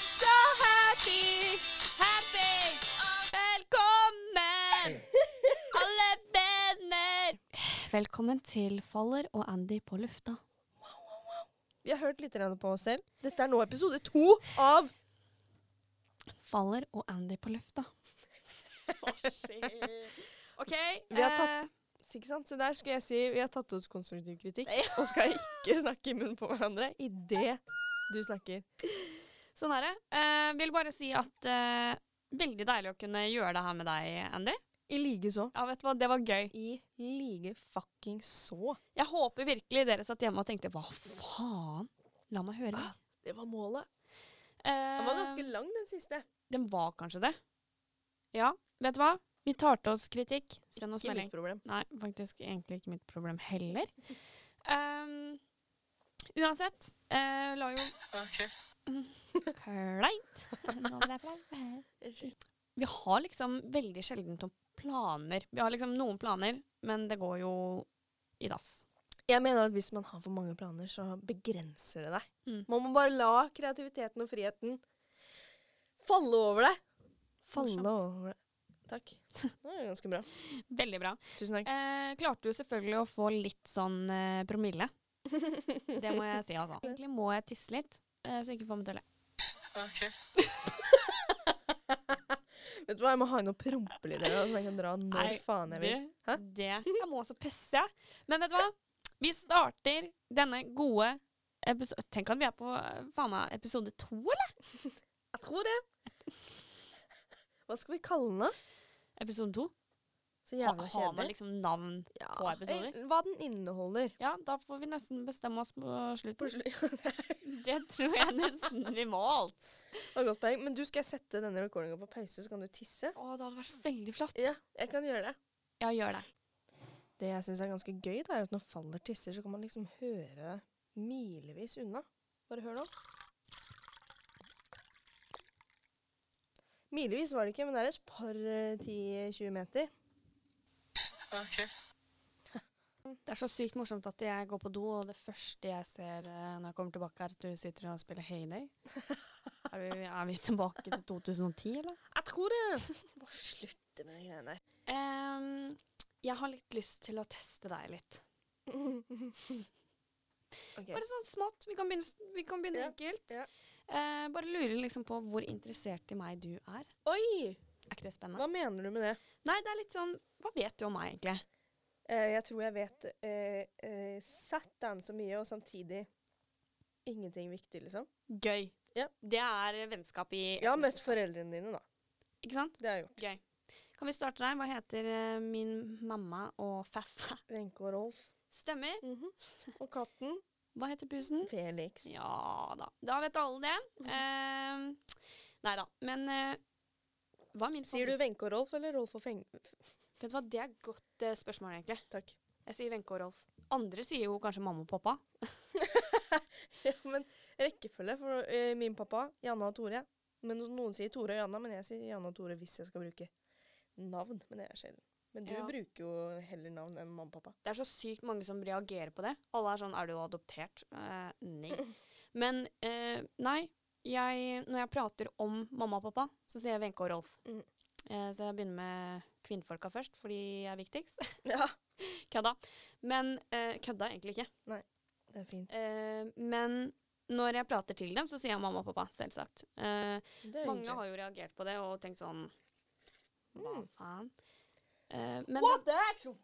Velkommen til Faller og Andy på lufta. Vi har hørt litt grann på oss selv. Dette er nå episode to av Faller og Andy på lufta. OK. eh, Vi har tatt- Så Ikke sant? Så der skulle jeg si vi har tatt oss konstruktiv kritikk og skal ikke snakke i munnen på hverandre idet du snakker. Sånn er det. Eh, vil bare si at eh, Veldig deilig å kunne gjøre det her med deg, Andy. I like så. Ja, vet du hva, Det var gøy. I like fucking så. Jeg håper virkelig dere satt hjemme og tenkte 'hva faen'? La meg høre. Ah. Det var målet. Eh, Den var ganske lang, den siste. Den var kanskje det. Ja, vet du hva? Vi tar til oss kritikk. Send oss Ikke melding. mitt problem. Nei, faktisk egentlig ikke mitt problem heller. Ehm, uansett, eh, la jo Kleint. Nå ble jeg flau. Vi har liksom veldig sjelden noen planer. Vi har liksom noen planer, men det går jo i dass. Jeg mener at hvis man har for mange planer, så begrenser det deg. Mm. Man må bare la kreativiteten og friheten falle over deg. Morsomt. Falle over deg. Takk. Det var ganske bra. Veldig bra. Tusen takk. Eh, klarte jo selvfølgelig å få litt sånn eh, promille. Det må jeg si, altså. Egentlig må jeg tisse litt, eh, så jeg ikke får meg til å le. Vet du hva, jeg må ha inn noe prompelyder som jeg kan dra når Nei, faen jeg vil. Det, det. Jeg må også pisse, jeg. Men vet du hva? Vi starter denne gode episoden Tenk at vi er på eh, faen meg episode to, eller? Jeg tror det. Hva skal vi kalle den, da? Episode to. Så Ha, jævla har man kjedelig. liksom navn? Ja. på episoder? Eh, Hva den inneholder. Ja, da får vi nesten bestemme oss på På slutten. slu- det Det tror jeg nesten vi må alt. var godt poeng. Men du skal jeg sette denne recordinga på pause, så kan du tisse. Å, det hadde vært veldig flott. Ja, jeg kan gjøre det. Ja, gjør det. Det jeg syns er ganske gøy, det er at når faller tisser, så kan man liksom høre det milevis unna. Bare hør nå. Milevis var det ikke, men det er et par eh, 10-20 meter. Det er så sykt morsomt at jeg går på do, og det første jeg ser eh, når jeg kommer tilbake, er at du sitter og spiller Heyday. Er vi, er vi tilbake til 2010, eller? Jeg tror det! Må slutte med de greiene der. Ehm, jeg har litt lyst til å teste deg litt. Ok. Bare sånn smått. Vi kan begynne, s- vi kan begynne Ja, enkelt. ja. Eh, bare lurer liksom på hvor interessert i meg du er. Oi! Er ikke det spennende? Hva mener du med det? Nei, det er litt sånn Hva vet du om meg, egentlig? Eh, jeg tror jeg vet eh, eh, satan så mye, og samtidig ingenting viktig, liksom. Gøy. Ja. Det er eh, vennskap i Jeg har møtt foreldrene dine, da. Ikke sant? Det har jeg gjort. Gøy. Kan vi starte der? Hva heter eh, min mamma og faffa? Wenche og Rolf. Stemmer. Mhm. Og katten Hva heter pusen? Felix. Ja da. Da vet alle det. Mhm. Ehm, nei da. Men eh, hva er min Sier du favoritt? Wenche og Rolf eller Rolf og Feng... Vet du hva, det er et godt eh, spørsmål, egentlig. Takk. Jeg sier Wenche og Rolf. Andre sier jo kanskje mamma og pappa. Ja, men rekkefølge for eh, min pappa, Janne og Tore. Men no- noen sier Tore og Janne, men jeg sier Janne og Tore hvis jeg skal bruke navn. Men det er sjelden. Men du Ja. bruker jo heller navn enn mamma og pappa. Det er så sykt mange som reagerer på det. Alle er sånn Er du adoptert? Eh, nei. Men eh, nei. Jeg, når jeg prater om mamma og pappa, så sier jeg Wenche og Rolf. Mm. Eh, så jeg begynner med kvinnfolka først, for de er viktigst. Ja, kødda. Men eh, kødda egentlig ikke. det er fint. Eh, men når jeg prater til dem, så sier jeg mamma og pappa, selvsagt. Eh, Det er mange hyggelig. har jo reagert på det og tenkt sånn Hva Mm. faen? Eh, men What the actual?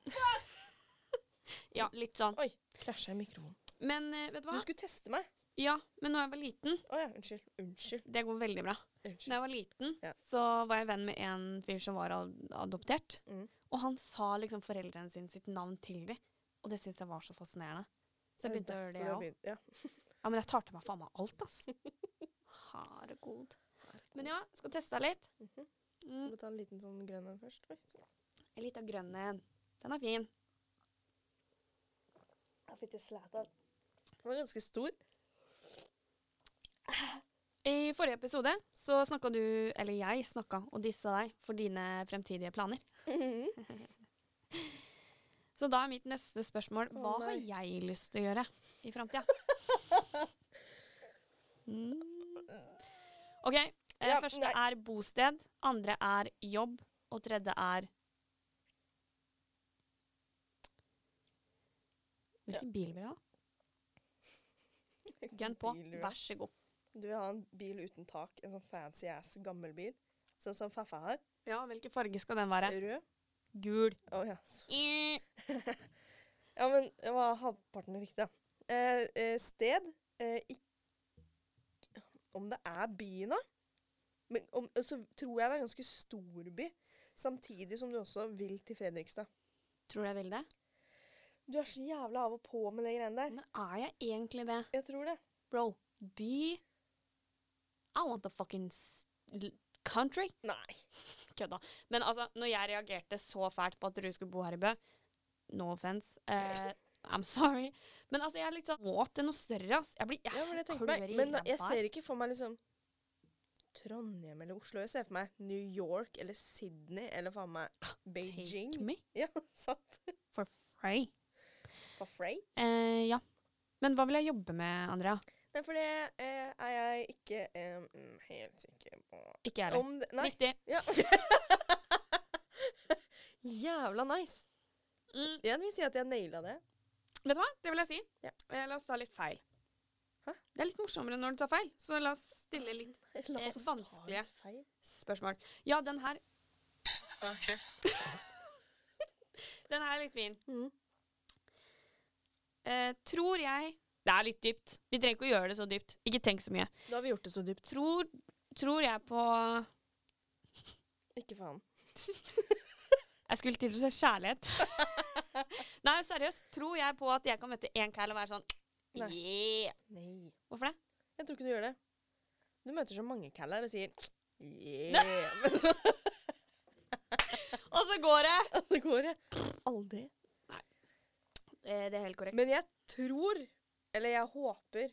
Ja, litt sånn. Oi, krasja i mikrofonen. Men eh, vet du hva? Du skulle teste meg. Ja, men når jeg var liten Å ja, unnskyld. Unnskyld. Det går veldig bra. unnskyld. Når jeg var liten, Ja. så var jeg venn med en fyr som var ad- adoptert. Mm. Og han sa liksom foreldrene sine sitt navn til dem. Og det syntes jeg var så fascinerende. Så jeg begynte å gjøre det, jeg òg. òg. Ja. Ja, men jeg tar til meg faen meg alt, ass. Herregud. Men ja, skal teste deg litt. Mhm. Skal Mm, vi ta en liten sånn grønn en først? Oi, sånn. så- en liten grønn en. Den er fin. Den var ganske stor. I forrige episode så snakka du, eller jeg snakka, og dissa deg for dine fremtidige planer. Så da er mitt neste spørsmål Å, hva har nei. jeg lyst til å gjøre i framtida? Mm. OK. Eh, Ja, første nei. er bosted, andre er jobb, og tredje er Hvilken bil vil jeg ha? Gun på. Vær så god. Du vil ha en bil uten tak, en sånn fancy ass gammel bil. Sånn som faffa har. Ja, hvilken farge skal den være? Rød. Eh. Gul. Eh. Å ja. så- ja, men det var halvparten riktig, da. Eh, eh, sted eh, ikk- Om det er byen, da? Men om, eh, så tror jeg det er en ganske stor by. Samtidig som du også vil til Fredrikstad. Tror du jeg vil det? Du er så jævla av og på med de greiene der. Men er jeg egentlig det? Jeg tror det. Bro, by I want the fucking s- l- country. Nei. Kødda. Men altså, når jeg reagerte så fælt på at du skulle bo her i Bø No offense. eh, I'm sorry. Men altså, jeg er litt sånn må til noe større, ass. Jeg blir jeg Ja, men jeg tenker klør meg, i men da, jeg ræva her. ser ikke for meg liksom Trondheim eller Oslo. Jeg ser for meg New York eller Sydney eller faen meg Beijing. Take me Ja, sant. for free. For Frey. Eh, ja. Men hva vil jeg jobbe med, Andrea? Nei, for det eh, er jeg ikke eh, mm, helt sikker på. Ikke jeg heller. Om det Nei. Riktig. Ja. Jævla nice. Mm, Jeg vil si at jeg naila det. vet du hva? Det vil jeg si. Ja. Eh, la oss ta litt feil. Hæ? Det er litt morsommere når du tar feil, så la oss stille litt La Eh, oss ta en vanskelige. feil. spørsmål. Ja, den her. den her er litt fin. Mhm. Eh, tror jeg Det er litt dypt. Vi trenger ikke å gjøre det så dypt. Ikke tenk så mye. Da har vi gjort det så dypt. Tror, tror jeg på Jeg Ikke faen. skulle til å si kjærlighet. Nei, seriøst. Tror jeg på at jeg kan møte én kall og være sånn Nei. yeah. Nei. Hvorfor det? Jeg tror ikke du gjør det. Du møter så mange caller og sier yeah, men så Og så går det! altså, går det aldri. Eh, det er helt korrekt. Men jeg tror, eller jeg håper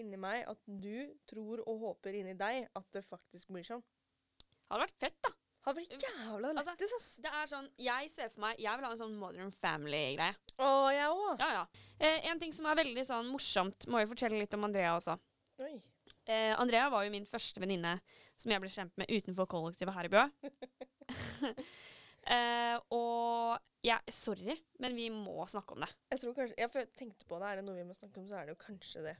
inni meg, at du tror og håper inni deg at det faktisk blir sånn. Hadde vært fett, da. Hadde vært jævla Altså- lættis, ass. Det er sånn, Jeg ser for meg Jeg vil ha en sånn Modern Family-greie. Å, jeg òg. Ja, ja. Eh, en ting som er veldig sånn morsomt, må jeg fortelle litt om Andrea også. Oi. Eh, Andrea var jo min første venninne som jeg ble kjent med utenfor kollektivet her i Bø. eh, og ja, sorry, men vi må snakke om det. Jeg tror kanskje, jeg fø- tenkte på det, er det noe vi må snakke om, så er det jo kanskje det.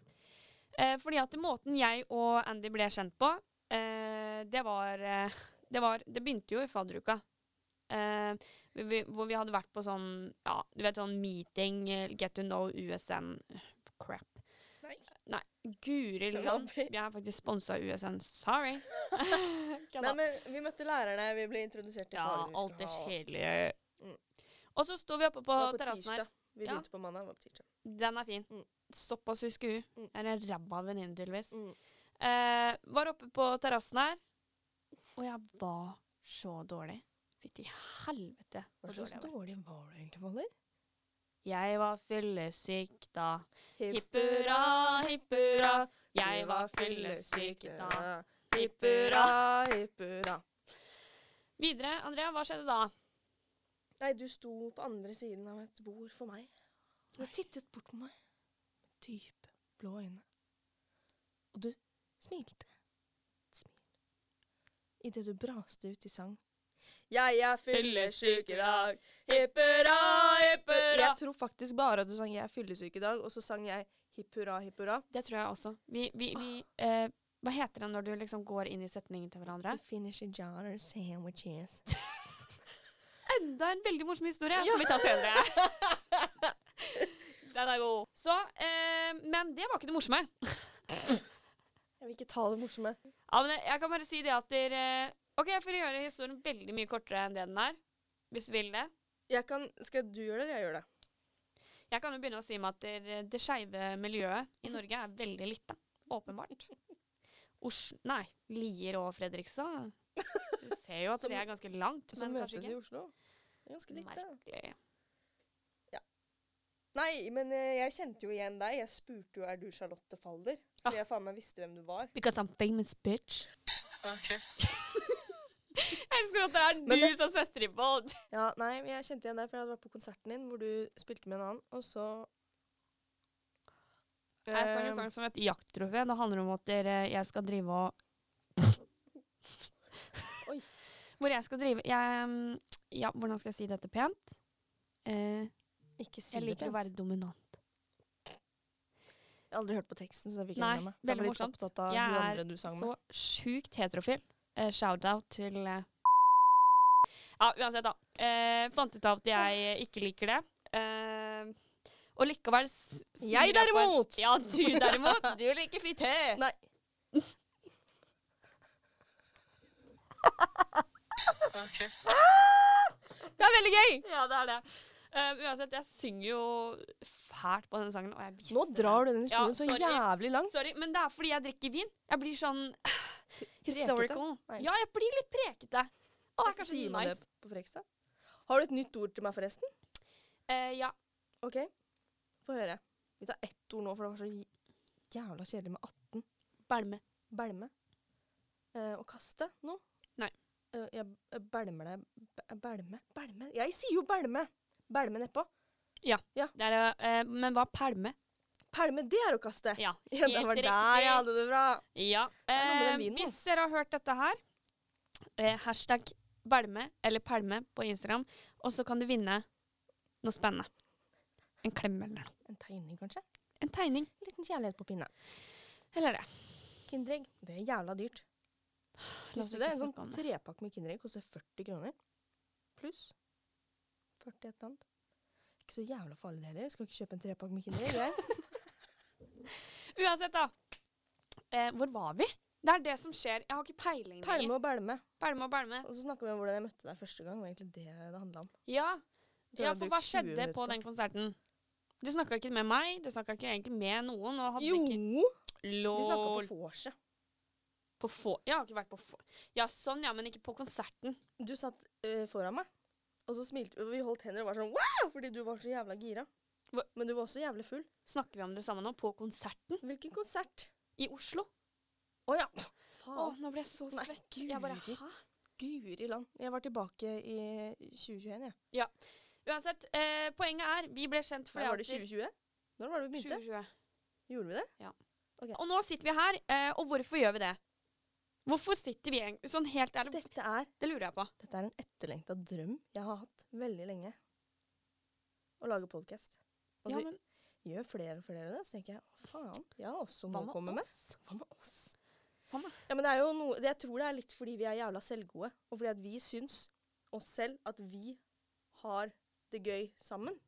Eh, fordi at måten jeg og Andy ble kjent på, eh, det var eh, det, var, det begynte jo i fadderuka. Eh, vi, vi, hvor vi hadde vært på sånn, ja, du vet sånn meeting, eh, get to know USN, crap. Nei. Nei, guri land. Labby. Vi er faktisk sponsa av USN, sorry. Nei, men vi møtte lærerne, vi ble introdusert til ja, faren vi skulle alt det ha, og- kjedelige. Mm. Og så sto vi oppe på, Det var på terrassen her. tirsdag. Vi Ja. begynte på mandag, det var på tirsdag. Den er fin. Mm. Såpass husker hun. Mm. Er en ræva venninne, tydeligvis. Mm. Eh, var oppe på terrassen her, og jeg var så dårlig. Fytti helvete. Hva hvor slags dårlig jeg var. dårlig var du egentlig, Valer? Jeg var fyllesyk da. Hipp hurra, hipp hurra. Jeg var fyllesyk da. Hipp hurra. hipp hurra. Videre, Andrea, hva skjedde da? Nei, du sto på andre siden av et bord for meg. Du har tittet bort på meg. med Dype, blå øyne. Og du smilte. Et smil. Idet du braste ut i sang. Jeg er fyllesyk i dag. Hipp hurra, hipp hurra. Jeg tror faktisk bare at du sang 'Jeg er fyllesyk i dag', og så sang jeg 'Hipp hurra, hipp hurra'. Det tror jeg også. Vi, vi, vi eh, Hva heter det når du liksom går inn i setningen til hverandre? We finish a jar of sandwiches. Enda en veldig morsom historie Ja. som vi tar senere. Den er god. Så, eh, men det var ikke det morsomme. Jeg vil ikke ta det morsomme. Ja, men jeg kan bare si det at dere eh, Ok, For å gjøre historien veldig mye kortere enn det den er, hvis du vil det Jeg kan, skal du gjøre det, eller jeg gjør det? Jeg kan jo begynne å si meg at det, det skeive miljøet i Norge er veldig lite. Åpenbart. Oslo Nei, Lier og Fredrikstad. Du ser jo at Som- det er ganske langt, Som men møtes kanskje ikke. i Oslo? Det er Ganske litt, da. Merkelig. Nei, men eh, jeg kjente jo igjen deg. Jeg spurte jo er du Charlotte Falder. Ah. Fordi jeg faen meg visste hvem du var. Because I'm famous bitch. Jeg elsker at det er Men du som setter i bånd. Ja, nei, men jeg kjente igjen deg, for jeg hadde vært på konserten din hvor du spilte med en annen, og så Jeg sang Eh, en sang som heter Jakttrofé. Det handler om at dere, jeg skal drive og Oi. Hvor jeg skal drive jeg, mm, Ja, hvordan skal jeg si dette pent? Eh, Ikke si jeg det liker å være dominant. Jeg har aldri hørt på teksten, så det fikk jeg Nei, ikke med meg. Jeg veldig ble litt morsomt. opptatt av Jeg hun er andre du sang med. Så sjukt heterofil. Eh, Shout-out til eh. Ja, uansett, da. Eh, fant ut av at jeg eh, ikke liker det. Eh, og likevel s- sier på Jeg en- derimot! Ja, du derimot. Du liker fitte. Nei. Det er veldig gøy! Ja, det er det. Eh, uansett, jeg synger jo fælt på denne sangen, og jeg visste Nå drar du den Ja, historien så sorry. jævlig langt. Sorry, men det er fordi jeg drikker vin. Jeg blir sånn historical. Nei. Ja, jeg blir litt prekete. Og det er kanskje Sier man det nice. på Frekstad? Har du et nytt ord til meg, forresten? Eh, ja. OK, få høre. Vi tar ett ord nå, for det var så j- jævla kjedelig med 18. Bælme. Bælme. Eh, å kaste noe. Nei. Eh, jeg jeg bælmer deg b- eh, Bælme? Bælme? Jeg sier jo bælme! Bælme nedpå. Det er, eh, men hva er pælme? Pælme, det er å kaste! Ja. Ja, det helt var der riktig. jeg hadde det bra! ja. Eh. er noe med Eh, den vinen, hvis dere har hørt dette her, eh, hashtag bælme eller pælme på Instagram, og så kan du vinne noe spennende. En klem eller noe. En tegning, kanskje? En tegning. En liten kjærlighet på pinne. Eller det. Kinderegg. Det er jævla dyrt. La oss Visste du det? ikke En snakke om sånn det. trepakk med Kinderegg koster 40 kroner. Pluss 40 et eller annet. Ikke så jævla farlig det heller. Skal ikke kjøpe en trepakk med Kinderegg. jeg. Uansett, da. Eh, hvor var vi? Det er det som skjer. Jeg har ikke peiling lenger. Pælme og bælme. Pælme og pælme. Og så snakker vi om hvordan jeg møtte deg første gang. Det var egentlig det det handla om. Ja, Du ja har for brukt hva 20 skjedde minutter på den konserten? Du snakka ikke med meg, du snakka ikke egentlig med noen. Og hadde Jo! ikke Vi snakka på LOL. vorset. På få. Jeg har ikke vært på få. Ja, sånn, ja, men ikke på konserten. Du satt eh, foran meg, og så smilte vi. og Vi holdt hender og var sånn wow! Fordi du var så jævla gira. Hva- Hm? Men du var også jævlig full. Snakker vi om det samme nå? På konserten Hvilken konsert? i Oslo? Å ja! Å, Faen. nå ble jeg så Ah. Nei, svett. Jeg bare, guri. hæ? Guri land. Jeg var tilbake i 2021, jeg. Uansett, eh, poenget er vi ble kjent fordi Nei, var det at vi- 2020? Når var det vi begynte? 2020. Gjorde vi det? Og nå sitter vi her, eh, og hvorfor gjør vi det? Hvorfor sitter vi egentlig sånn helt ærlig? Det, Dette er, lurer jeg på. dette er en etterlengta drøm jeg har hatt veldig lenge. Å lage podkast. Og så ja, men gjør flere og flere det, så tenker jeg å faen, jeg har også hva noe å komme med med. oss? Hva med oss? Hva med- Ja, men det er jo noe, det, jeg tror det er litt fordi vi er jævla selvgode, og fordi at vi syns oss selv at vi har det gøy sammen.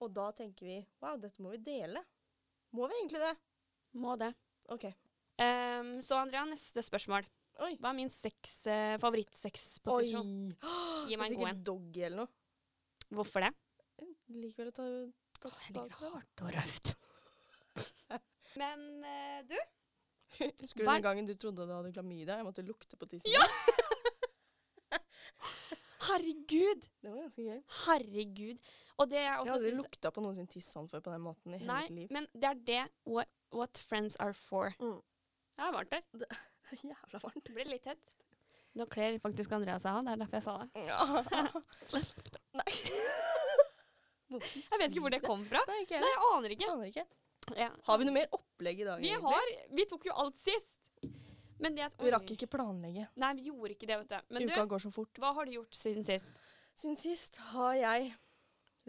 Og da tenker vi wow, dette må vi dele. Må vi egentlig det? Må det. OK. Ehm, så Andrea, neste spørsmål. Oi. Ah, Hva er min sex, eh, favorittsexposisjon? Gi Det er meg en god en. sikkert doggy eller noe. Hvorfor det? Likevel å ta Åh, jeg liker hardt og røft. Men eh, du? Husker du Hver- den gangen du trodde du hadde klamydia? Jeg måtte lukte på tissen. din? Herregud! Det var ganske gøy. Herregud. Og det jeg Jeg har også aldri syns lukta på noen sin tiss sånn før på den måten i hele Nei, mitt liv. men det er det what, what friends are for. Mm. Jeg har vært der. Det er Jævla varmt. Det ble litt tett. Nå kler faktisk Andrea seg av. Det er derfor jeg sa det. Nei. Jeg vet ikke hvor det kom fra. Nei, ikke Nei, heller. jeg aner ikke. Aner ikke. Ja. Har vi noe mer opplegg i dag, Vi egentlig? har Vi tok jo alt sist. Men det at Vi rakk ikke planlegge. Nei, vi gjorde ikke det, vet du. Men Uka du, går så fort. hva har du gjort siden sist? Siden sist har jeg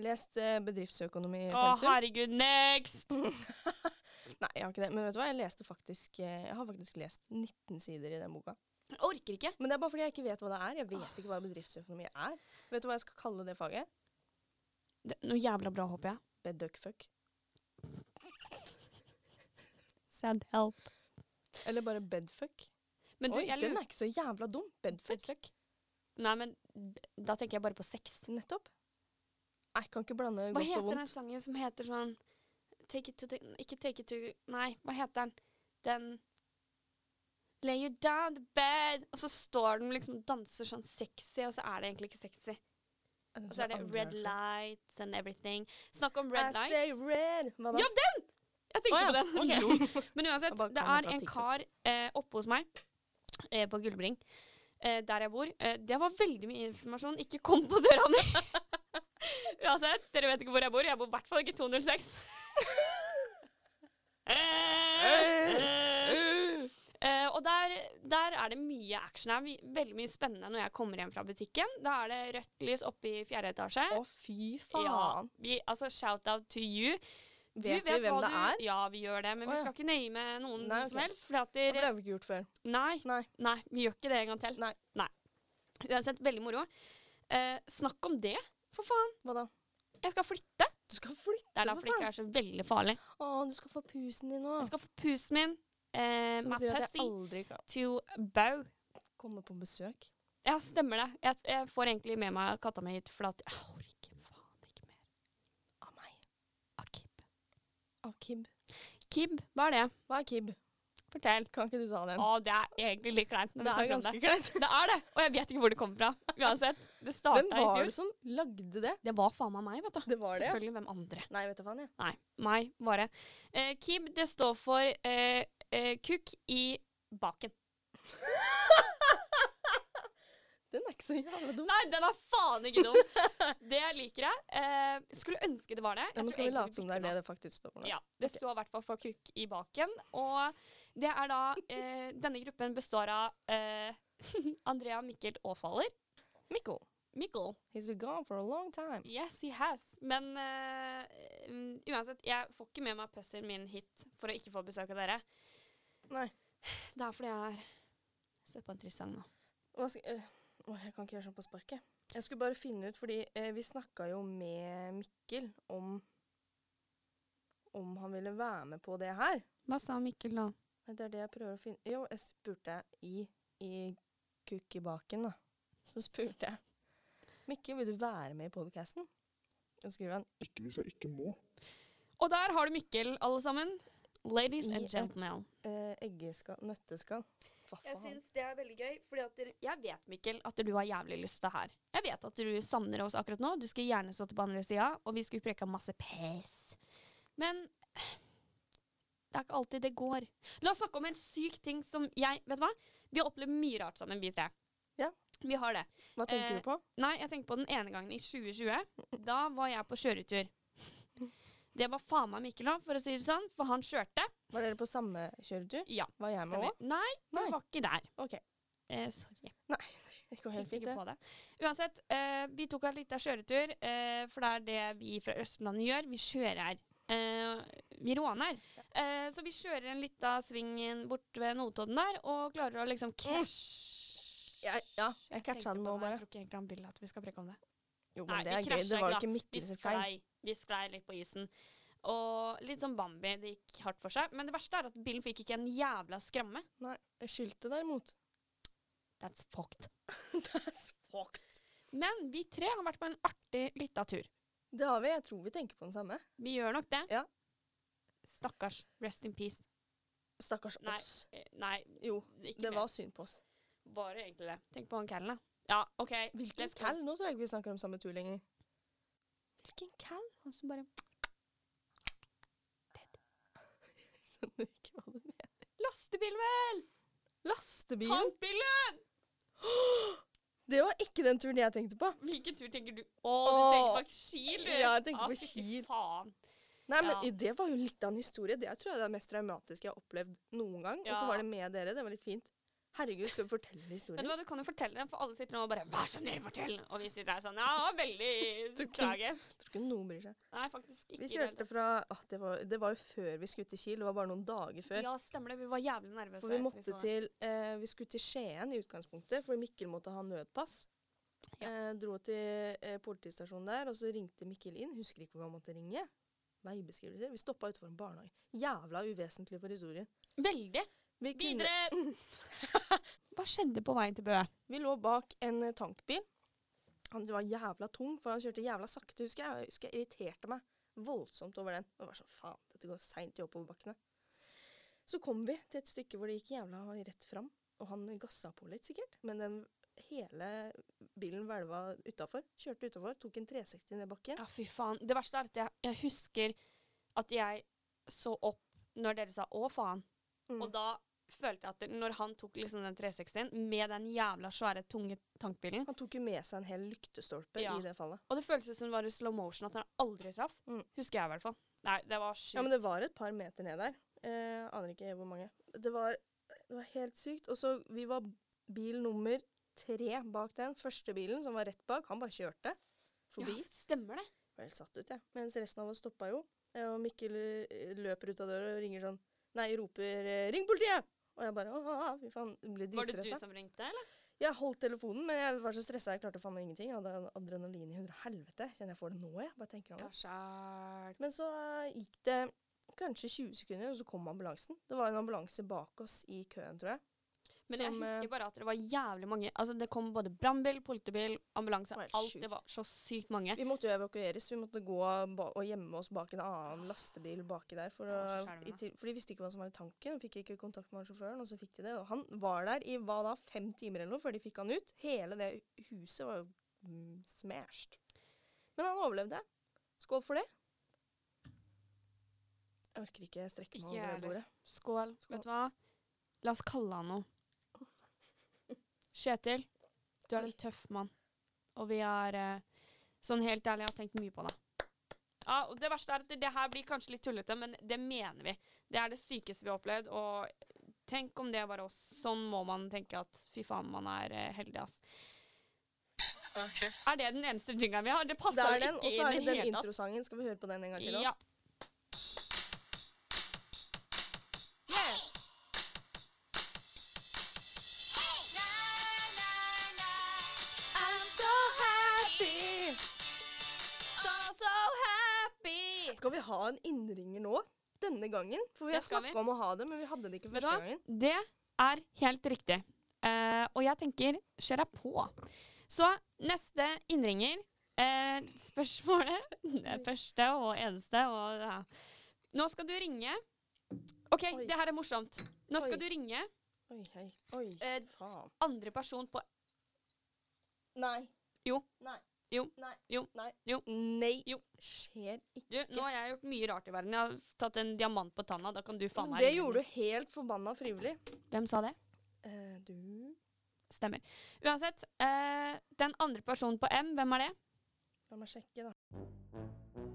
lest eh, bedriftsøkonomi Å, på pensum. herregud, next! Nei, jeg har ikke det. Men vet du hva? Jeg, leste faktisk, eh, jeg har faktisk lest 19 sider i den boka. Jeg orker ikke. Men det er bare fordi jeg ikke vet hva det er. Jeg vet ikke hva bedriftsøkonomi er. Vet du hva jeg skal kalle det faget? Det, noe jævla bra, håper jeg. Bedøkkfuck. Send help. Eller bare bedfuck. Men du, Oi, jeg den lurer er ikke så jævla dum. Bedfuck. Nei, men b- da tenker jeg bare på sex. Nettopp. Jeg kan ikke blande Hva godt og heter den vondt. sangen som heter sånn Take it to the Ikke take it to Nei, hva heter den? Den Lay you down the bed Og så står den liksom og danser sånn sexy, og så er det egentlig ikke sexy. Jeg Og tror så er det jeg aldri red har hørt den. lights and everything. Snakk om red altså. I say lights. red. Hva da? Ja, Jeg tenkte Å ja, på den. Jo. Men uansett, Jeg bare det kan er fra en TikTok. kar eh, oppe hos meg eh, på Gullbring, eh, der jeg bor. Eh, det var veldig mye informasjon. Ikke kom på døra mi! uansett, dere vet ikke hvor jeg bor. Jeg bor i hvert fall ikke 206. Eh, eh, og der, der er det mye action. Det er my- veldig mye spennende når jeg kommer hjem fra butikken. Da er det rødt lys oppe i fjerde etasje. Å, fy Ja, faen. vi, altså, shout out to you. Du Vet vi hvem hva det du- er? Ja, vi gjør det, men Å, vi ja. skal ikke name noen Nei, som ok. helst. Fordi at Ja, for Det dere, har vi ikke gjort før. nei, Nei. nei, vi gjør ikke det en gang til. Nei. Uansett, veldig moro. Eh, snakk om det, for faen. Hva da? Jeg skal flytte. Du skal flytte, Det er derfor det ikke er så veldig farlig. Å, du skal få pusen din nå. Jeg skal få pusen min, eh, Som my betyr at jeg pussy, aldri kan to bow. komme på besøk. Ja, stemmer det. Jeg, jeg får egentlig med meg katta mi hit, for at jeg orker faen ikke mer Av meg. av Kib. Av Kib. Kib, hva er det? Hva er Kib? Fortell. Kan ikke du ta den? Å, det er egentlig litt kleint når vi det er snakker om det. ganske kleint. Det er det, og jeg vet ikke hvor det kommer fra. Uansett, det starta Hvem i var fjor. det som lagde det? Det var faen meg meg, vet du. Det var det? Selvfølgelig hvem andre. Nei, vet du faen, jeg. Nei, meg var det. Eh, Kib, det står for eh, eh, kukk i baken. Den er ikke så jævla dum. Nei, den er faen ikke dum! Det liker jeg. Eh, skulle ønske det var det. Jeg Ja, men tror skal vi egentlig late som det bytter er det det faktisk står for? nå? Ja, det står i hvert fall for kukk i baken. Og det er da eh, Denne gruppen består av eh, Andrea, Mikkel og Faller. Mikkel. Mikkel. He's been gone for a long time. Yes, he has. Men eh, mm, uansett, jeg får ikke med meg pussyen min hit for å ikke få besøk av dere. Nei. Det er fordi jeg er Sett på en trist sang nå. Hva skal, øh, åh, jeg kan ikke gjøre sånn på sparket. Jeg skulle bare finne ut, fordi eh, vi snakka jo med Mikkel om om han ville være med på det her. Hva sa Mikkel da? Men Det er det jeg prøver å finne Jo, jeg spurte i, i kukkibaken, da. Så spurte jeg Mikkel, vil du være med i podkasten? Og skriver han ikke hvis jeg ikke må. Og der har du Mikkel, alle sammen. Ladies I and et- gentlemen. eh, eggeskall Nøtteskall. Hva faen? det er veldig gøy, fordi at Jeg vet, Mikkel, at du har jævlig lyst til det her. Jeg vet at du savner oss akkurat nå. Du skulle gjerne stått på andre sida, og vi skulle preka masse pes. Men det er ikke alltid det går. La oss snakke om en syk ting som jeg Vet du hva? Vi har opplevd mye rart sammen, vi tre. Ja. Vi har det. Hva tenker eh, du på? Nei, jeg tenker på den ene gangen i 2020. Da var jeg på kjøretur. Det var faen meg Mikkel òg, for å si det sånn, for han kjørte. Var dere på samme kjøretur? Ja, Var jeg med Stemmer. òg? Nei, du Nei. var ikke der. OK. Eh, sorry. Det går Tenkte helt fint, ikke det. på det. Uansett, eh, vi tok en liten kjøretur, eh, for det er det vi fra Østlandet gjør. Vi kjører. Eh, vi råner. Eh, så vi kjører en liten sving bort ved Notodden der, og klarer å liksom catch Jeg, ja, jeg tenkte catcha den på nå, det, Jeg bare. tror ikke egentlig han vil at vi skal preke om det. Jo, Nei, men det vi er gøy. krasja Det var ikke, jo da. ikke Vi Mikkel sin feil. sklei. Vi sklei litt på isen. Og litt sånn Bambi. Det gikk hardt for seg. Men det verste er at bilen fikk ikke en jævla skramme. Nei, skyldte derimot. That's fucked. That's fucked. Men vi tre har vært på en artig lita tur. Det har vi. Jeg tror vi tenker på den samme. Vi gjør nok det. Ja. Stakkars. Rest in peace. Stakkars Nei. oss. Eh, Nei, Jo, ikke det var synd på oss. Var det egentlig det? Tenk på han callen, da. Ja, OK. Hvilken let's go. cal? Nå tror jeg ikke vi snakker om samme tur lenger. Hvilken cal? Han som bare Skjønner ikke hva du mener. Lastebil, vel! Lastebilen! Tankbilen! Det var ikke den turen jeg tenkte på. Hvilken tur tenker du Å, du Åh. tenker på Kiel, du! Ja, jeg tenker Ah, på fy Kiel. Faen. Nei, men Ja. Det var jo litt av en historie. Det tror jeg er det mest traumatiske jeg har opplevd noen gang. Og Ja. så var det med dere. Det var litt fint. Herregud, skal vi fortelle Vet historien? du hva, du kan jo fortelle den, for alle sitter nå og bare Vær så snill, fortell! Og vi sitter her sånn Ja, det var veldig Du kan- tragisk. Jeg tror ikke noen bryr seg. Nei, faktisk ikke. i Vi det hele kjørte fra ah, det, var, det var jo før vi skulle til Kiel. Det var bare noen dager tatt. før. Ja, stemmer det. Vi var jævlig nervøse. For vi måtte så det. liksom- til eh, Vi skulle til Skien i utgangspunktet, for Mikkel måtte ha nødpass. Eh, dro til eh, politistasjonen der, og så ringte Mikkel inn. Husker ikke hvor han måtte ringe. Veibeskrivelser. Vi stoppa utenfor en barnehage. Jævla uvesentlig for historien. Veldig. Vi, kunne, Videre! Hva skjedde på veien til Bø? vi lå bak en eh, tankbil. Han var jævla tung, for han kjørte jævla sakte, husker jeg. Jeg husker jeg irriterte meg voldsomt over den. Og var sånn, faen, dette går seint i oppoverbakkene. Så kom vi til et stykke hvor det gikk jævla rett fram, og han gassa på litt sikkert, men den hele bilen hvelva utafor. Kjørte utafor, tok en 360 ned bakken. Ja, fy faen. Det verste er at jeg, jeg husker at jeg så opp når dere sa 'å, faen'. Mm. Og da følte jeg at det- når han tok liksom den 360-en med den jævla svære, tunge tankbilen Han tok jo med seg en hel lyktestolpe Ja. i det fallet. Og det føltes som det var i slow motion, at den aldri traff. Mm. Husker jeg i hvert fall. Nei, det var sjukt. Ja, men det var et par meter ned der. Eh, aner ikke hvor mange. Det var, det var helt sykt. Og så vi var bil nummer tre bak den. Første bilen som var rett bak, han bare kjørte forbi. Ja, stemmer det. Jeg var helt satt ut, jeg. Mens resten av oss stoppa jo. Eh, Og Mikkel eh, løper ut av døra og ringer sånn Nei, roper eh, 'ring politiet'! Og jeg bare å, å, å, fy faen, ble Var det du dritstressa. som ringte, eller? Jeg holdt telefonen, men jeg var så stressa jeg klarte faen meg ingenting. Jeg hadde adrenalin i hundre og helvete. Kjenner jeg får det nå, jeg. Bare tenker over det. Ja, sjæl. Men så eh, gikk det kanskje 20 sekunder, og så kom ambulansen. Det var en ambulanse bak oss i køen, tror jeg. Men jeg Som, eh, husker bare at det var jævlig mange. Altså, det kom både brannbil, politibil, ambulanse. Det var helt Alt. sjukt. Det var så sykt mange. Vi måtte jo evakueres. Vi måtte gå ba og gjemme oss bak en annen lastebil baki der. For, Det var så å, skjelvende. i til, for de visste ikke hva som var i tanken. Fikk ikke kontakt med han sjåføren, og så fikk de det. Og han var der i hva da, fem timer eller noe før de fikk han ut. Hele det huset var jo mm, smashed. Men han overlevde. Skål for det. Jeg orker ikke strekke Ikke meg over jeg det bordet. Skål. Skål. Vet du hva? La oss kalle han noe. Kjetil, du er Oi. en tøff mann. Og vi er eh, Sånn helt ærlig, jeg har tenkt mye på deg. Ja, og det verste er at det, det her blir kanskje litt tullete, men det mener vi. Det er det sykeste vi har opplevd, og tenk om det var oss. Sånn må man tenke at fy faen, man er eh, heldig, ass. Er det den eneste jingeren vi har? Det Det passer er jo den, og så ikke er inn i det det den hele tatt. introsangen. Skal vi høre på den en gang til? da? Ja. I'm so happy. So, so happy! Skal vi ha en innringer nå? Denne gangen? For vi Det har skal snakka om å ha det, men vi hadde det ikke Vet du første hva? gangen. Det er helt riktig. Eh, og jeg tenker kjør deg på. Så neste innringer eh, Spørsmålet Det første og eneste og ja. Nå skal du ringe. OK, Oi. det her er morsomt. Nå skal Oi. du ringe Oi, hei. Oi, Eh, faen. andre person på Nei. Jo. Nei. Jo. Nei. Jo. Nei. Jo. Nei. Jo. Skjer ikke. Du, nå har jeg gjort mye rart i verden. Jeg har tatt en diamant på tanna. Da kan du faen Men meg det ringe. gjorde du helt forbanna frivillig. Hvem sa det? Eh, du Stemmer. Uansett, eh, den andre personen på M, hvem er det? La meg sjekke, da.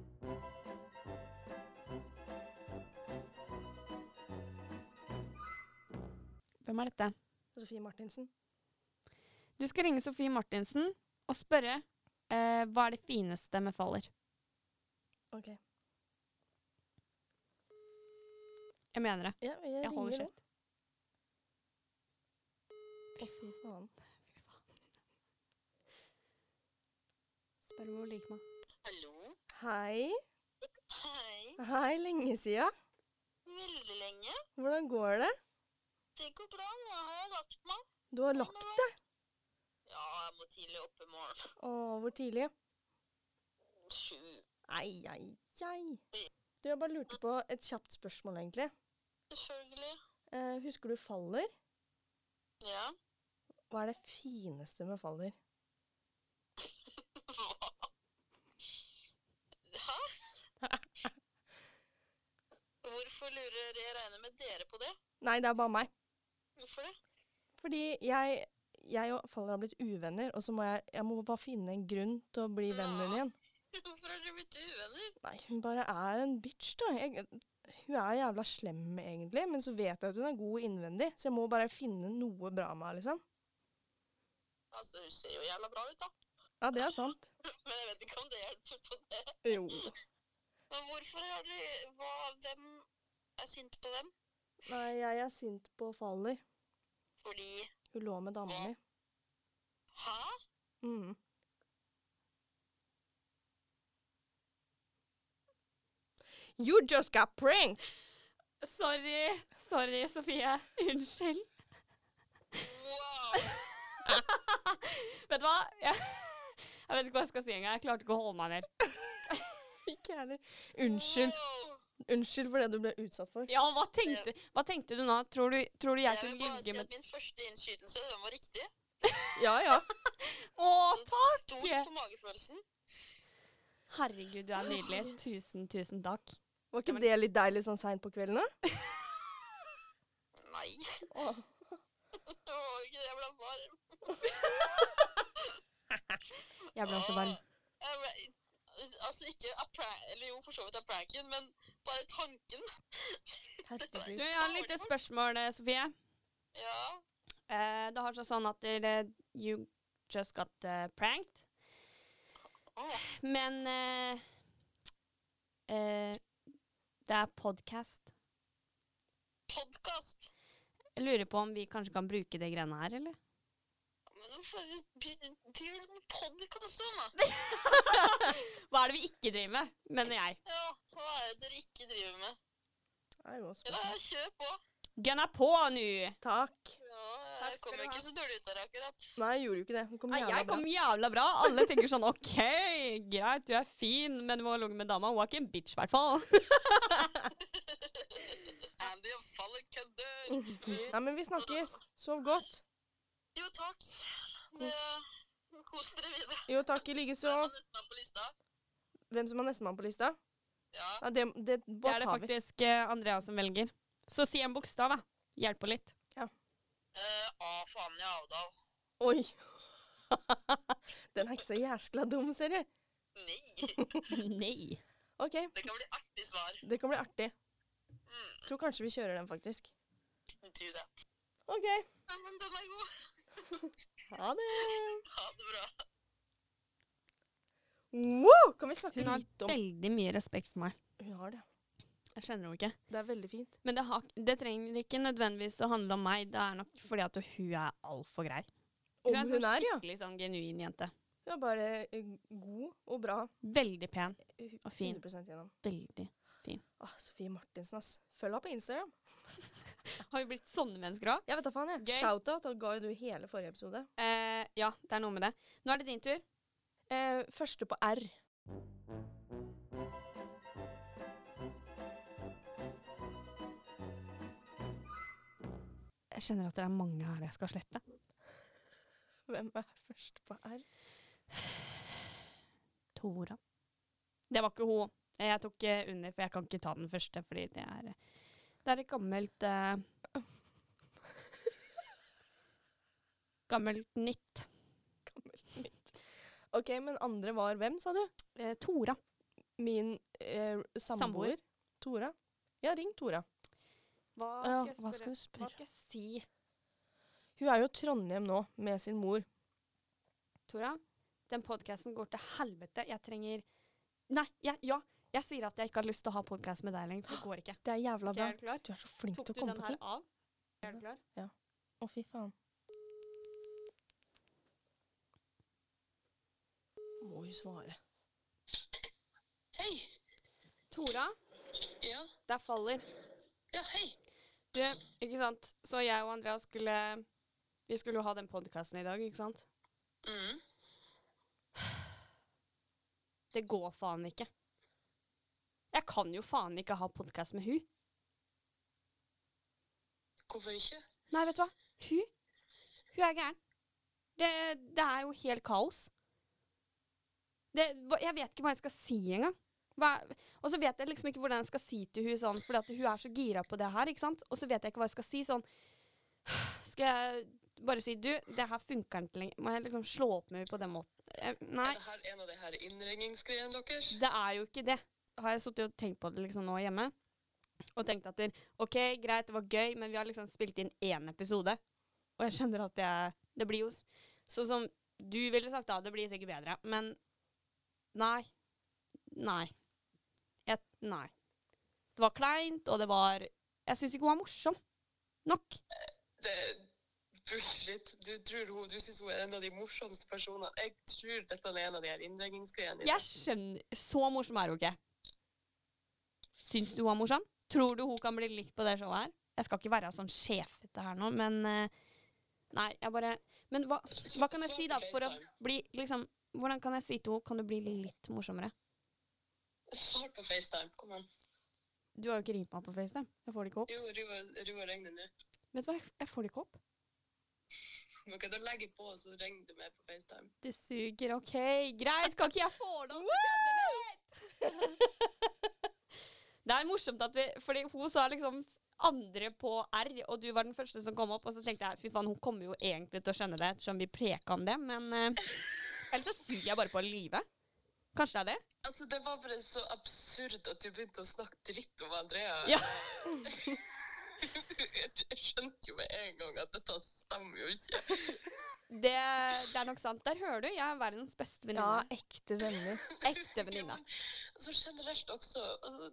Hvem er dette? Sofie Martinsen. Du skal ringe Sofie Martinsen og spørre eh, hva er det fineste med Faller. OK. Jeg mener det. Ja, jeg, Jeg holder ringer nå. kjeft. Å, fy faen. Spør om hun liker meg. Hallo? Hei. Hei. Hei, lenge sia. Veldig lenge. Hvordan går det? Det går bra. Nå har jeg lagt meg. Du har lagt deg. Ja, jeg må tidlig opp i morgen. Å, hvor tidlig? Sju. Ei, ei, ei. Du, jeg bare lurte på et kjapt spørsmål, egentlig. Selvfølgelig. Eh, husker du Faller? Ja. Hva er det fineste med Faller? Hæ? Hvorfor lurer jeg regner med dere på det? Nei, det er bare meg. Hvorfor det? Fordi jeg, jeg og Faller har blitt uvenner, og så må jeg, jeg må bare finne en grunn til å bli venner igjen. Hvorfor har dere blitt uvenner? Nei, hun bare er en bitch, da. Jeg, hun er jævla slem, egentlig, men så vet jeg at hun er god innvendig, så jeg må bare finne noe bra med henne, liksom. Altså, hun ser jo jævla bra ut, da. Ja, det er sant. Men jeg vet ikke om det hjelper på det. Jo. Men hvorfor har dere Hva Hvem er sint på hvem? Nei, jeg er sint på Faller. Fordi Hun lå med dama mi. Hæ? Mm. You just got pranked! Sorry. Sorry, Sofie. Unnskyld. Wow! Vet du hva? Jeg, jeg vet ikke hva jeg skal si engang. Jeg klarte ikke å holde meg mer. Ikke jeg heller. Unnskyld. Wow. Unnskyld for det du ble utsatt for. Ja, hva tenkte, hva tenkte du nå? Tror du, tror du jeg vil kunne bare si ligge med at min første innskytelse den var riktig. Ja, ja. Å, takk! Stort på magefølelsen. Herregud, du er nydelig. Tusen, tusen takk. Var Ja, ikke men- det litt deilig sånn seint på kvelden, da? Nei, Åh. det var ikke det. Jeg ble varm. Jeg ble også varm. Jeg ble, altså ikke av prank, eller jo, for så vidt av pranken, men bare tanken. Du, Herregud. jeg har et lite spørsmål, eh, Sofie. Ja, Eh, det har seg sånn at dere You just got eh, pranked. Åh. Men eh, eh, Det er podcast. Podkast! Jeg lurer på om vi kanskje kan bruke det greiene her, eller? Men hvorfor driver du med podkast, da? Hva er det vi ikke driver med, mener jeg. Ja, hva er det dere ikke driver med? Det er jo også Ja, bra. kjør på. Gunna på nå! Takk. Ja, Takk skal jeg kom du ha. ikke så dårlig ut der akkurat. Nei, jeg gjorde jo ikke det. Hun kom Nei, jævla jeg bra. kom jævla bra. Alle tenker sånn OK, greit, du er fin, men du må ligge med dama. Hun er ikke en bitch, i hvert fall. Andy og Faller kødder. Nei, men vi snakkes. Sov godt. Jo, takk. Det, kos dere videre. Jo, takk i likeså. Hvem er nestemann på lista? Hvem som er nestemann på lista? Ja. Nei, det, det, Det bare er det tar vi. faktisk eh, Andrea som velger. Så si en bokstav, da. Hjelper litt. Eh, A for Anja Avdal. Oi. Den er ikke så jæskla dum, ser du. Nei. Nei. OK, Det kan bli artig svar. det kan bli artig. Mm, Tror kanskje vi kjører den, faktisk. do that. OK. Ja, men den er god. Ha det. Ha det bra. Wow! Kan vi snakke Hun har litt om veldig mye respekt for meg. Hun har det. Jeg kjenner henne ikke. Det er veldig fint. Men det, har, det trenger ikke nødvendigvis å handle om meg. Det er nok fordi at hun er altfor grei. Om er en hun sånn er, ja. skikkelig sånn genuin jente. Hun er bare eh, god og bra. Veldig pen. eh, Og fin. 100 gjennom. Veldig. Ah, Sofie Martinsen, ass. Følg henne på Instagram. Har vi blitt sånne mennesker òg? Jeg vet da faen, jeg. Gøy. Shoutout da ga jo du hele forrige episode. Eh, ja, det er noe med det. Nå er det din tur. Eh, første på R. Jeg kjenner at det er mange her jeg skal slette. Hvem er først på R? Tora. Det var ikke hun. Eh, Jeg tok eh, under, for jeg kan ikke ta den første, fordi det er Det er et gammelt eh, Gammelt nytt. Gammelt nytt. OK, men andre var hvem, sa du? Eh, Tora. Min eh, samboer. Samboer. Tora. Ja, ring Tora. Hva Ja, skal jeg hva spørre? skal du Hva spørre? skal jeg si? Hun er jo i Trondheim nå, med sin mor. Tora, den podcasten går til helvete. Jeg trenger Nei, jeg, ja. Jeg sier at jeg ikke har lyst til å ha podkast med deg lenger. for Det går ikke. Det er jævla Ok, bra. er du klar? Du er så flink Tok til å du komme den på her ting. av? Er du klar? Å, fy faen. Må jo svare. Hei. Tora, Ja, der faller. ja, hei. Du, ikke sant. Så jeg og Andrea skulle Vi skulle jo ha den podkasten i dag, ikke sant? Mm. Det går faen ikke. Jeg kan jo faen ikke ha podkast med hun. Hvorfor ikke? Nei, vet du hva? Hun Hun er gæren. Det, det er jo helt kaos. Det, hva- jeg vet ikke hva jeg skal si engang. Hva- Og så vet jeg liksom ikke hvordan jeg skal si til hun sånn, fordi at hun er så gira på det her. ikke sant? Og så vet jeg ikke hva jeg skal si sånn Skal jeg bare si du, det her funker ikke lenger. Må jeg liksom slå opp med henne på den måten? Eh, Nei, Er det her en av de her innringningsgreiene deres? det er jo ikke det. Har jeg sittet og tenkt på det liksom nå hjemme. Og tenkt at OK, greit, det var gøy, men vi har liksom spilt inn én episode. Og jeg skjønner at jeg Det blir jo s- sånn som du ville sagt da, det blir sikkert bedre. Men nei. Nei. Jeg, nei. Det var kleint, og det var Jeg syns ikke hun var morsom nok. Det er bullshit. Du, tror hun, du synes hun er en av de morsomste personene. Jeg tror dette er en av de her innleggingsgreiene. dine. Jeg skjønner Så morsom er hun ikke. Syns du hun er morsom? Tror du hun kan bli likt på det showet her? Jeg skal ikke være sånn sjefete her nå, men eh, Nei, jeg bare Men hva, hva kan jeg si, da, for å bli liksom Hvordan kan jeg si til henne Kan du bli litt morsommere? Svar på FaceTime. Kom an. Du har jo ikke ringt meg på FaceTime. Jeg får det ikke opp. Jo, Roar Roar regner nå. Vet du hva, jeg- jeg får det ikke opp. Men kan du legge på, så regner det med på FaceTime. Det suger. OK, greit. Kan ikke jeg få det opp? Det er morsomt at vi Fordi hun sa liksom andre på R, og du var den første som kom opp. Og så tenkte jeg fy faen, hun kommer jo egentlig til å skjønne det, ettersom vi preka om det. Men eh, ellers så suger jeg bare på å lyve. Kanskje det er det? Altså, det var bare så absurd at du begynte å snakke dritt om Andrea. Ja. Jeg skjønte jo med en gang at dette stemmer jo ikke. Det, det er nok sant. Der hører du. Jeg er verdens beste Ja, venninne. ekte venner. Ekte venninne. Jo, men, Altså generelt også altså,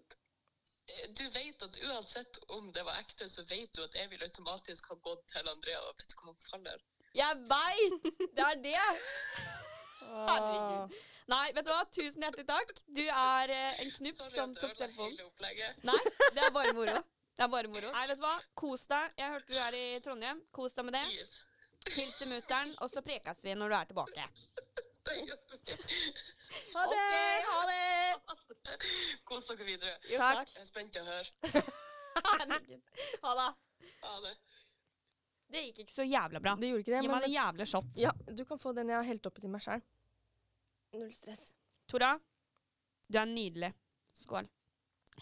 du vet at uansett om det var ekte, så vet du at jeg vil automatisk ha gått til Andrea og vet du hva han faller. Jeg veit! Det er det! Herregud. Herregud. Nei, vet du hva? Tusen hjertelig takk. Du er eh, en knupp Sorry som at jeg tok ødela telefonen. hele opplegget. Nei, det er bare moro. Det er bare moro. Nei, vet du hva? Kos deg. Jeg hørte du er i Trondheim. Kos deg med det. Yes. Hilse mutter'n, og så prekes vi når du er tilbake. Det gjør vi. Ha det! ha det! Kos dere videre. takk. Jeg er spent til å høre. Herregud. Ha det. Ha det. Det gikk ikke så jævla bra. Det gjorde ikke det, Gi meg men en jævla shot. ja, du kan få den jeg har helt oppi til meg sjøl. Null stress. Tora, du er nydelig. Skål.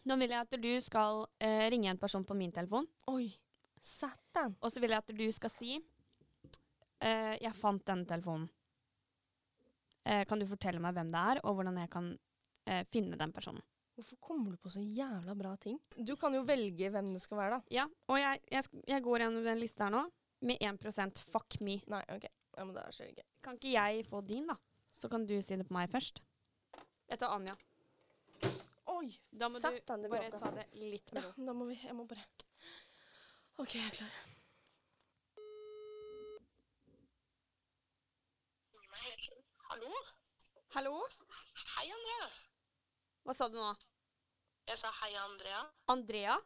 Nå vil jeg at du skal eh, ringe en person på min telefon, Oi, satan. og så vil jeg at du skal si eh, Jeg fant denne telefonen. Eh, kan du fortelle meg hvem det er, og hvordan jeg kan eh, finne den personen? Hvorfor kommer du på så jævla bra ting? Du kan jo velge hvem det skal være, da. Ja, og jeg, jeg, sk- jeg går gjennom den lista her nå med 1 fuck me. Nei, OK. Ja, men da skjer det ikke. Kan ikke jeg få din, da? Så kan du si det på meg først. Jeg tar Anja. Oi, Da må satan, du det bare bråka. ta det litt med Ja, ro. da må vi Jeg må bare OK, jeg er klar. Hallo? Hallo? Hei, Andrea. Hva sa du nå? Jeg sa hei, Andrea. Andrea?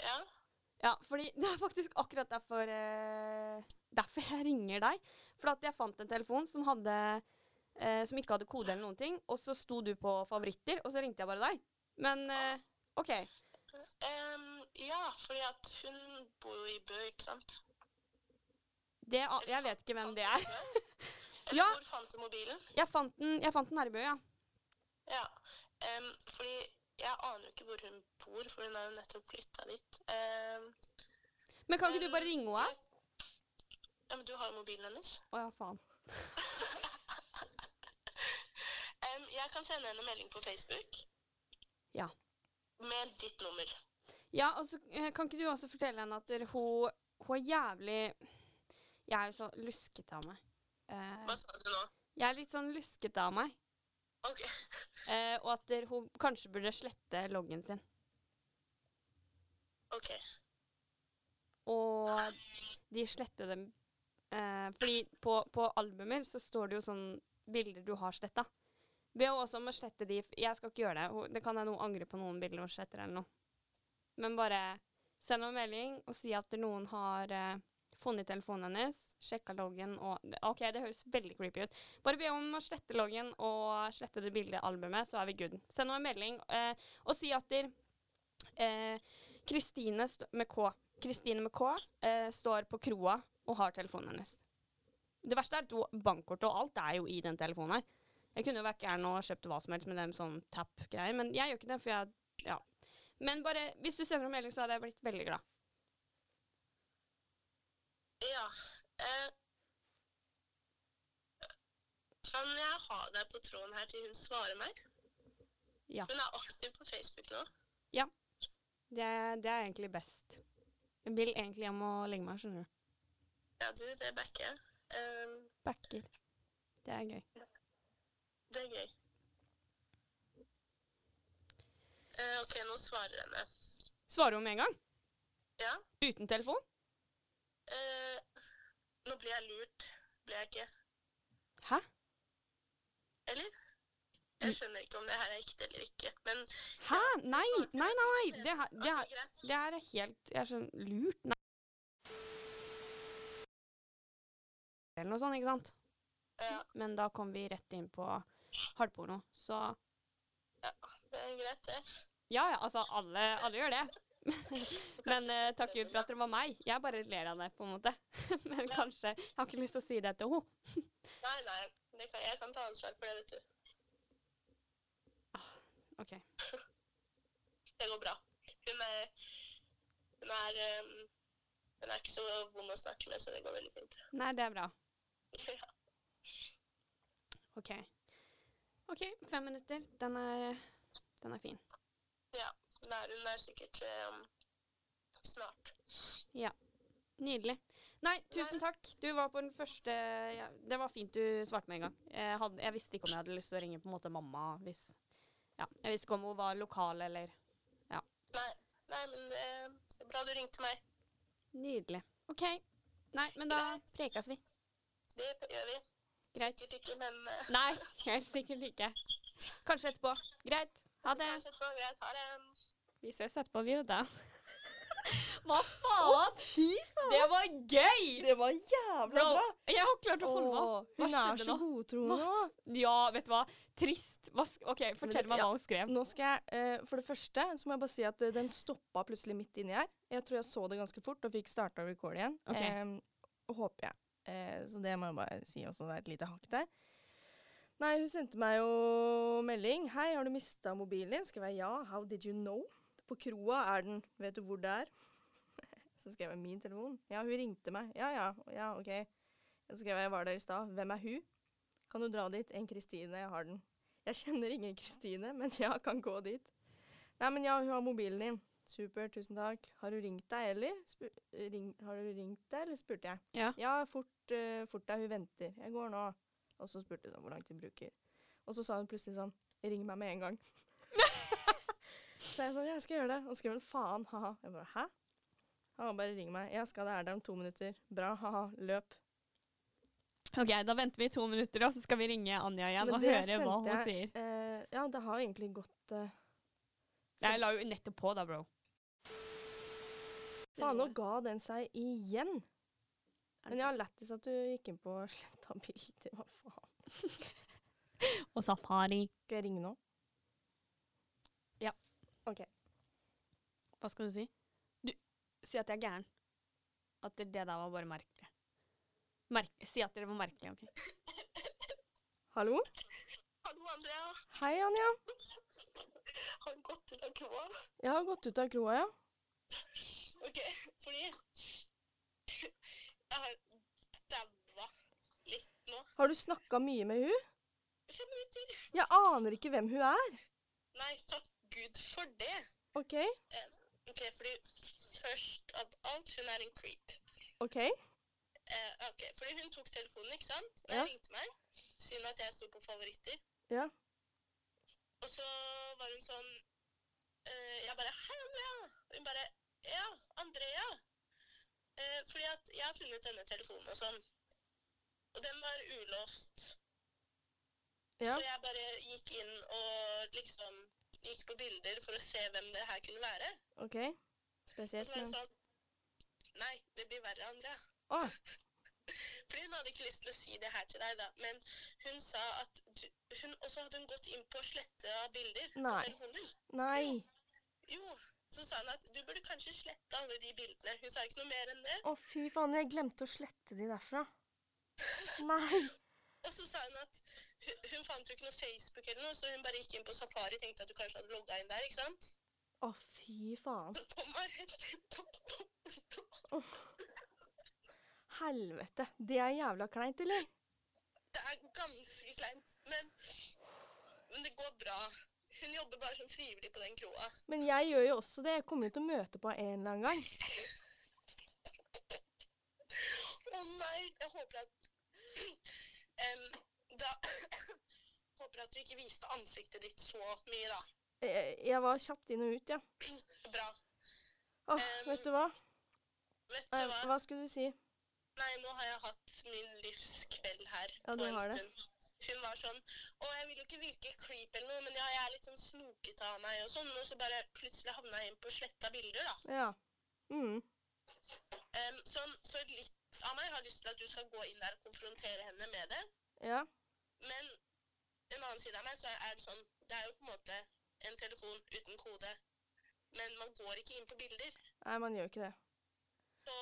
Ja. Ja, fordi det er faktisk akkurat derfor eh, Derfor jeg ringer deg. For at jeg fant en telefon som hadde eh, Som ikke hadde kode eller noen ting, og så sto du på favoritter, og så ringte jeg bare deg. Men eh, OK. Ehm, ja, fordi at hun bor i Bø, ikke sant? Det, a- jeg vet ikke hvem det er. Eller Ja. hvor fant du mobilen? Jeg fant den, jeg fant den her i Bø, ja. Ja. Ehm, fordi jeg aner jo ikke hvor hun bor, for hun har jo nettopp flytta dit. Ehm, Men kan ikke du bare ringe henne? ja, men du har jo mobilen hennes. Å ja, faen. Ehm, jeg kan sende henne en melding på Facebook. Ja. Med ditt nummer. Ja, og så eh, kan ikke du også fortelle henne at dere- hun, hun er jævlig Jeg er jo så luskete av meg. Eh, Hva sa du nå? jeg er litt sånn luskete av meg. Ok. Eh, og at dere- hun kanskje burde slette loggen sin. Ok. Og de sletter dem. Eh, fordi på, på albumer så står det jo sånn bilder du har sletta. Be henne også om å slette de. f- Jeg skal ikke gjøre det. Hun- Det kan hende hun angrer på noen bilder hun sletter eller noe. Men bare send henne en melding og si at noen har eh, funnet telefonen hennes, sjekka loggen og OK, det høres veldig creepy ut. Bare be henne om å slette loggen og slette det bildet i albumet, så er vi good. Send henne en melding eh, og si at der, eh, Kristine st- med K. Kristine med K eh, står på kroa og har telefonen hennes. Det verste er at hun- bankkortet og alt er jo i den telefonen her. Jeg kunne jo vært gæren og kjøpt hva som helst med dem sånn tap-greier, men jeg gjør ikke det, for jeg Ja. Men bare hvis du sender en melding, så hadde jeg blitt veldig glad. Ja. Eh, kan jeg ha deg på tråden her til hun svarer meg? Ja. Hun er aktiv på Facebook nå. Det, det er egentlig best. Jeg vil egentlig hjem og legge meg, skjønner du. Ja, du, det backer jeg. Ehm, Backer. Det er gøy. det er gøy. Eh, ok, nå svarer henne. Svarer hun med en gang? Ja. Uten telefon? Eh, nå ble jeg lurt. Ble jeg ikke? Hæ? Eller? Jeg skjønner ikke om det her er ekte eller ikke. Men Hæ? Nei, nei, nei! nei. Det, her- det, her- Ok, greit. det her er helt Jeg er sånn lurt. Nei. Eller noe sånt, ikke sant? Ja, Men da kom vi rett inn på hardporno. Så det er greit, det. ja, ja, altså alle, alle gjør det. Men eh, takk Gud for at det var meg. Jeg bare ler av det, på en måte. Men kanskje Jeg har ikke lyst til å si det til henne. Nei, nei. Det kan, jeg kan ta ansvar for det, vet du. Ah, OK. Det går bra. Hun er Hun er, ehm, hun er ikke så vond å snakke med, så det går veldig fint. Nei, det er bra. Ja. OK. OK, fem minutter. Den er, den er fin. Nei, hun er sikkert ehm, snart. Nydelig. Nei, tusen takk. Du var på den første ja, Det var fint du svarte med en gang. Jeg, hadde, jeg visste ikke om jeg hadde lyst til å ringe på en måte mamma hvis Ja, jeg visste ikke om hun var lokal eller Nei, men eh, det er bra du ringte meg. Nydelig. OK. Nei, men da prekes vi. Det gjør vi. Greit. Sikkert ikke, men eh, Nei, helt sikkert ikke. Kanskje etterpå. Greit. Ha det. kanskje etterpå. Greit, ha det. Vi ses etterpå, vi, vet du. Hva faen? Det var gøy! Det var jævla Bro, bra! jeg har klart å holde meg. Åh, Hva hun er skjedde så nå? godtroende. nå. Ja, vet du hva? Trist. Hva sk OK, fortell meg hva hun skrev. Nå skal jeg, eh, For det første så må jeg bare si at eh, den stoppa plutselig midt inni her. Jeg tror jeg så det ganske fort og fikk starta record igjen. Ok. Eh, håper jeg. Eh, så det må jeg bare si også. Det er et lite hakk der. Nei, hun sendte meg jo melding. 'Hei, har du mista mobilen din?' Skrev jeg ja. 'How did you know?' På kroa er den. Vet du hvor det er? Så skrev jeg 'min telefon'. Ja, hun ringte meg. Ja, ja, ja, OK. Så skrev jeg 'jeg var der i stad'. Hvem er hun? Kan du dra dit? En Kristine, jeg har den. Jeg kjenner ingen Kristine, men ja, kan gå dit. Nei, men ja, hun har mobilen din. Supert, tusen takk. Har du ringt deg, eller? Spur, ring, har du ringt deg, eller spurte jeg. Ja. fort, eh, fort deg, hun venter. Jeg går nå. Og så spurte hun sånn, hvor lang tid bruker. Og så sa hun plutselig sånn, ring meg med en gang. så jeg sånn, ja, jeg skal gjøre det. Og så skrev hun, faen, haha. Jeg bare, hæ? Han bare, ring meg. Jeg skal, det er der om to minutter. Bra, haha, løp. OK, da venter vi i to minutter, og så skal vi ringe Anja igjen Men og det høre hva sendte hun jeg- sier. Eh, ja, det har egentlig gått... eh, Jeg la jo nettopp på, da, bro. Faen, nå ga den seg igjen. Men jeg har lættis at du gikk inn på og sletta bilder. Hva faen? Og safari. Skal jeg ringe nå? Ja. OK. Hva skal du si? Du, Si at jeg er gæren. At det det der var bare merkelig. Merk, si at dere var merkelige, OK? Hallo? Hallo, Andrea. Hei, Anja. Har du gått ut av kroa? Jeg har gått ut av kloa, ja. Ok, fordi jeg har daua litt nå. Har du snakka mye med hun? Fem minutter. Jeg aner ikke hvem hun er. Nei, takk Gud for det. OK? Ok, fordi først av alt, hun er en creep. OK? Eh, ok, fordi hun tok telefonen, ikke sant? Når Ja. Hun ringte meg, siden at jeg sto på favoritter. Ja. Og så var hun sånn eh, Jeg bare 'Hei, Andrea.' Og hun bare 'Ja, Andrea.' Eh, fordi at jeg har funnet denne telefonen og sånn. Og den var ulåst. Ja. Så jeg bare gikk inn og liksom gikk på bilder for å se hvem det her kunne være. OK? Og så Spesielt, var hun men sånn Nei, det blir verre, Andrea. Å! Fordi hun hadde ikke lyst til å si det her til deg, da. Men hun sa at du, hun, Og så hadde hun gått inn på å slette av bilder Nei. på telefonen din. Nei. Jo. Så sa hun at du burde kanskje slette alle de bildene. Hun sa ikke noe mer enn det. Å, fy faen. Jeg glemte å slette de derfra. Nei. Og så sa hun at hun, hun fant jo ikke noe Facebook eller noe, så hun bare gikk inn på Safari tenkte at du kanskje hadde logga inn der, ikke sant? Å, fy faen. Så kom hun rett inn på Helvete. Det er jævla kleint, eller? Det er ganske kleint, men, men det går bra. Hun jobber bare som frivillig på den kroa. Men jeg gjør jo også det. Jeg kommer jo til å møte på henne en eller annen gang. Å nei, jeg håper at Em, Da håper jeg at du ikke viste ansiktet ditt så mye, da. Eh, Jeg var kjapt inn og ut, ja. Bra. Åh, Um, vet du hva? Vet du Eh, hva? Hva skulle du si? Nei, nå har jeg hatt min livskveld her Ja, du på en har det. stund. Hun var sånn Å, jeg vil jo ikke virke creep eller noe, men ja, jeg er litt sånn snokete av meg og sånn, og så bare plutselig havna jeg inn på sletta bilder, da. Ja. Mm. Em, sånn, så litt av meg har lyst til at du skal gå inn der og konfrontere henne med det. Ja. Men en annen side av meg så er det sånn Det er jo på en måte en telefon uten kode. Men man går ikke inn på bilder. Nei, man gjør ikke det. Så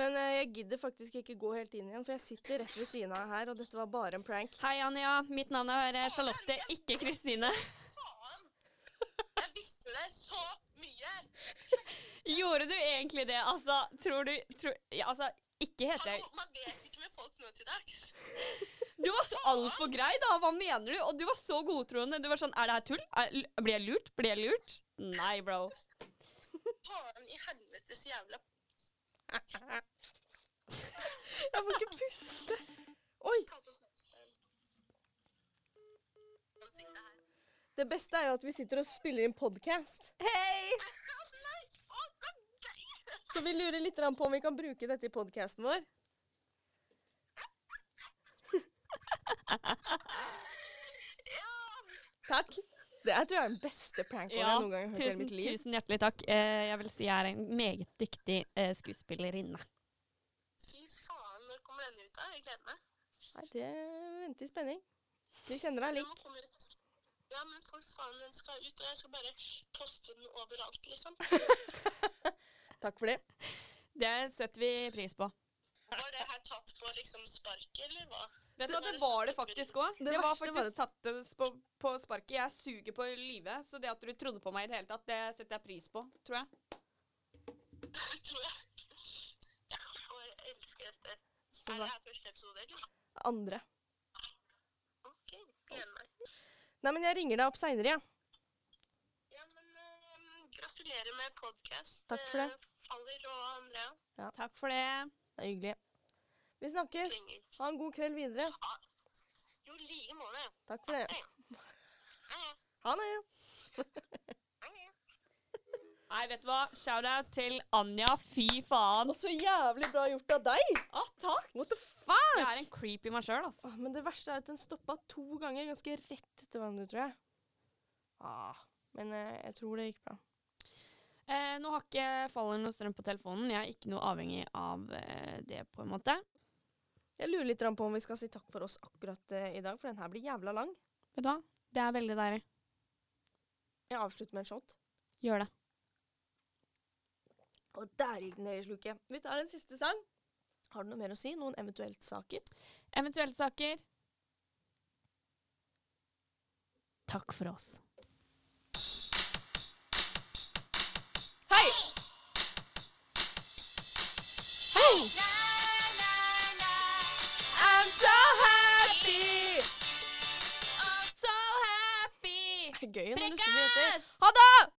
Men eh, jeg gidder faktisk ikke gå helt inn igjen, for jeg sitter rett ved siden av her, og dette var bare en prank. Hei, Anja. Mitt navn er eh, Charlotte, ikke Kristine. faen! Jeg visste det så mye! Gjorde du egentlig det? Altså, tror du tror, ja, Altså, ikke heter jeg Hallo, man vet ikke med folk nå til dags. Du var så altfor grei, da! Hva mener du? Og du var så godtroende. Du var sånn Er det her tull? Er, l- blir jeg lurt? Blir jeg lurt? Nei, bro. Faen i helvetes jævla Jeg får ikke puste. Oi! Ansiktet her. Det beste er jo at vi sitter og spiller inn podkast. Hei! Så vi lurer litt grann på om vi kan bruke dette i podkasten vår. Takk. Det her tror jeg er den beste pranken Ja, jeg noen gang har hørt i hele Tusen, mitt liv. tusen hjertelig takk. Eh, jeg vil si jeg er en meget dyktig eh, skuespillerinne. Fy faen, når kommer den ut da? Jeg gleder meg. Nei, det venter i spenning. Vi sender deg Den må link. komme ut. Ja, men for faen, den skal ut, og jeg skal bare poste den overalt, liksom. Takk for det. Det setter vi pris på. Var det her tatt på liksom sparket, eller hva? Vet du hva, Det det var var det det faktisk òg. Det Det, var verste var faktisk satt oss på, på sparket. Jeg suger på å lyve, så det at du trodde på meg i det hele tatt, det setter jeg pris på, tror jeg. Tror jeg. Ja, og jeg elsker dette. Så Er bra. det her første episode, eller? Andre. Ok, gleder meg. Nei, men jeg ringer deg opp seinere, jeg. Ja. Ja, men eh, gratulerer med podcast. Takk for det. eh, Faller og Andrea. Takk for det. Det er hyggelig. Vi snakkes. Klinger. Ha en god kveld videre. Jo, i like måte. Takk for det. Ha det. Ha det. Ha det. Nei, vet du hva? Shout-out til Anja. Fy faen. Og så jævlig bra gjort av deg! Ah, takk. What the fuck? Jeg er en creep i meg sjøl, altså. Åh, men det verste er at den stoppa to ganger, ganske rett etter hverandre, tror jeg. Ah, men eh, jeg tror det gikk bra. Eh, nå har ikke Faller noe strøm på telefonen. Jeg er ikke noe avhengig av eh, det, på en måte. Jeg lurer litt grann på om vi skal si takk for oss akkurat eh, i dag, for den her blir jævla lang. Vet du hva? Det er veldig deilig. Jeg avslutter med en shot. Gjør det. Og der gikk den ned i sluket. Vi tar en siste sang. Har du noe mer å si? Noen eventuelt saker? Eventuelle saker. Takk for oss. Hei! Hei! I'm so happy! So happy! Det er gøy når du synger dette. Prekkas! Ha det!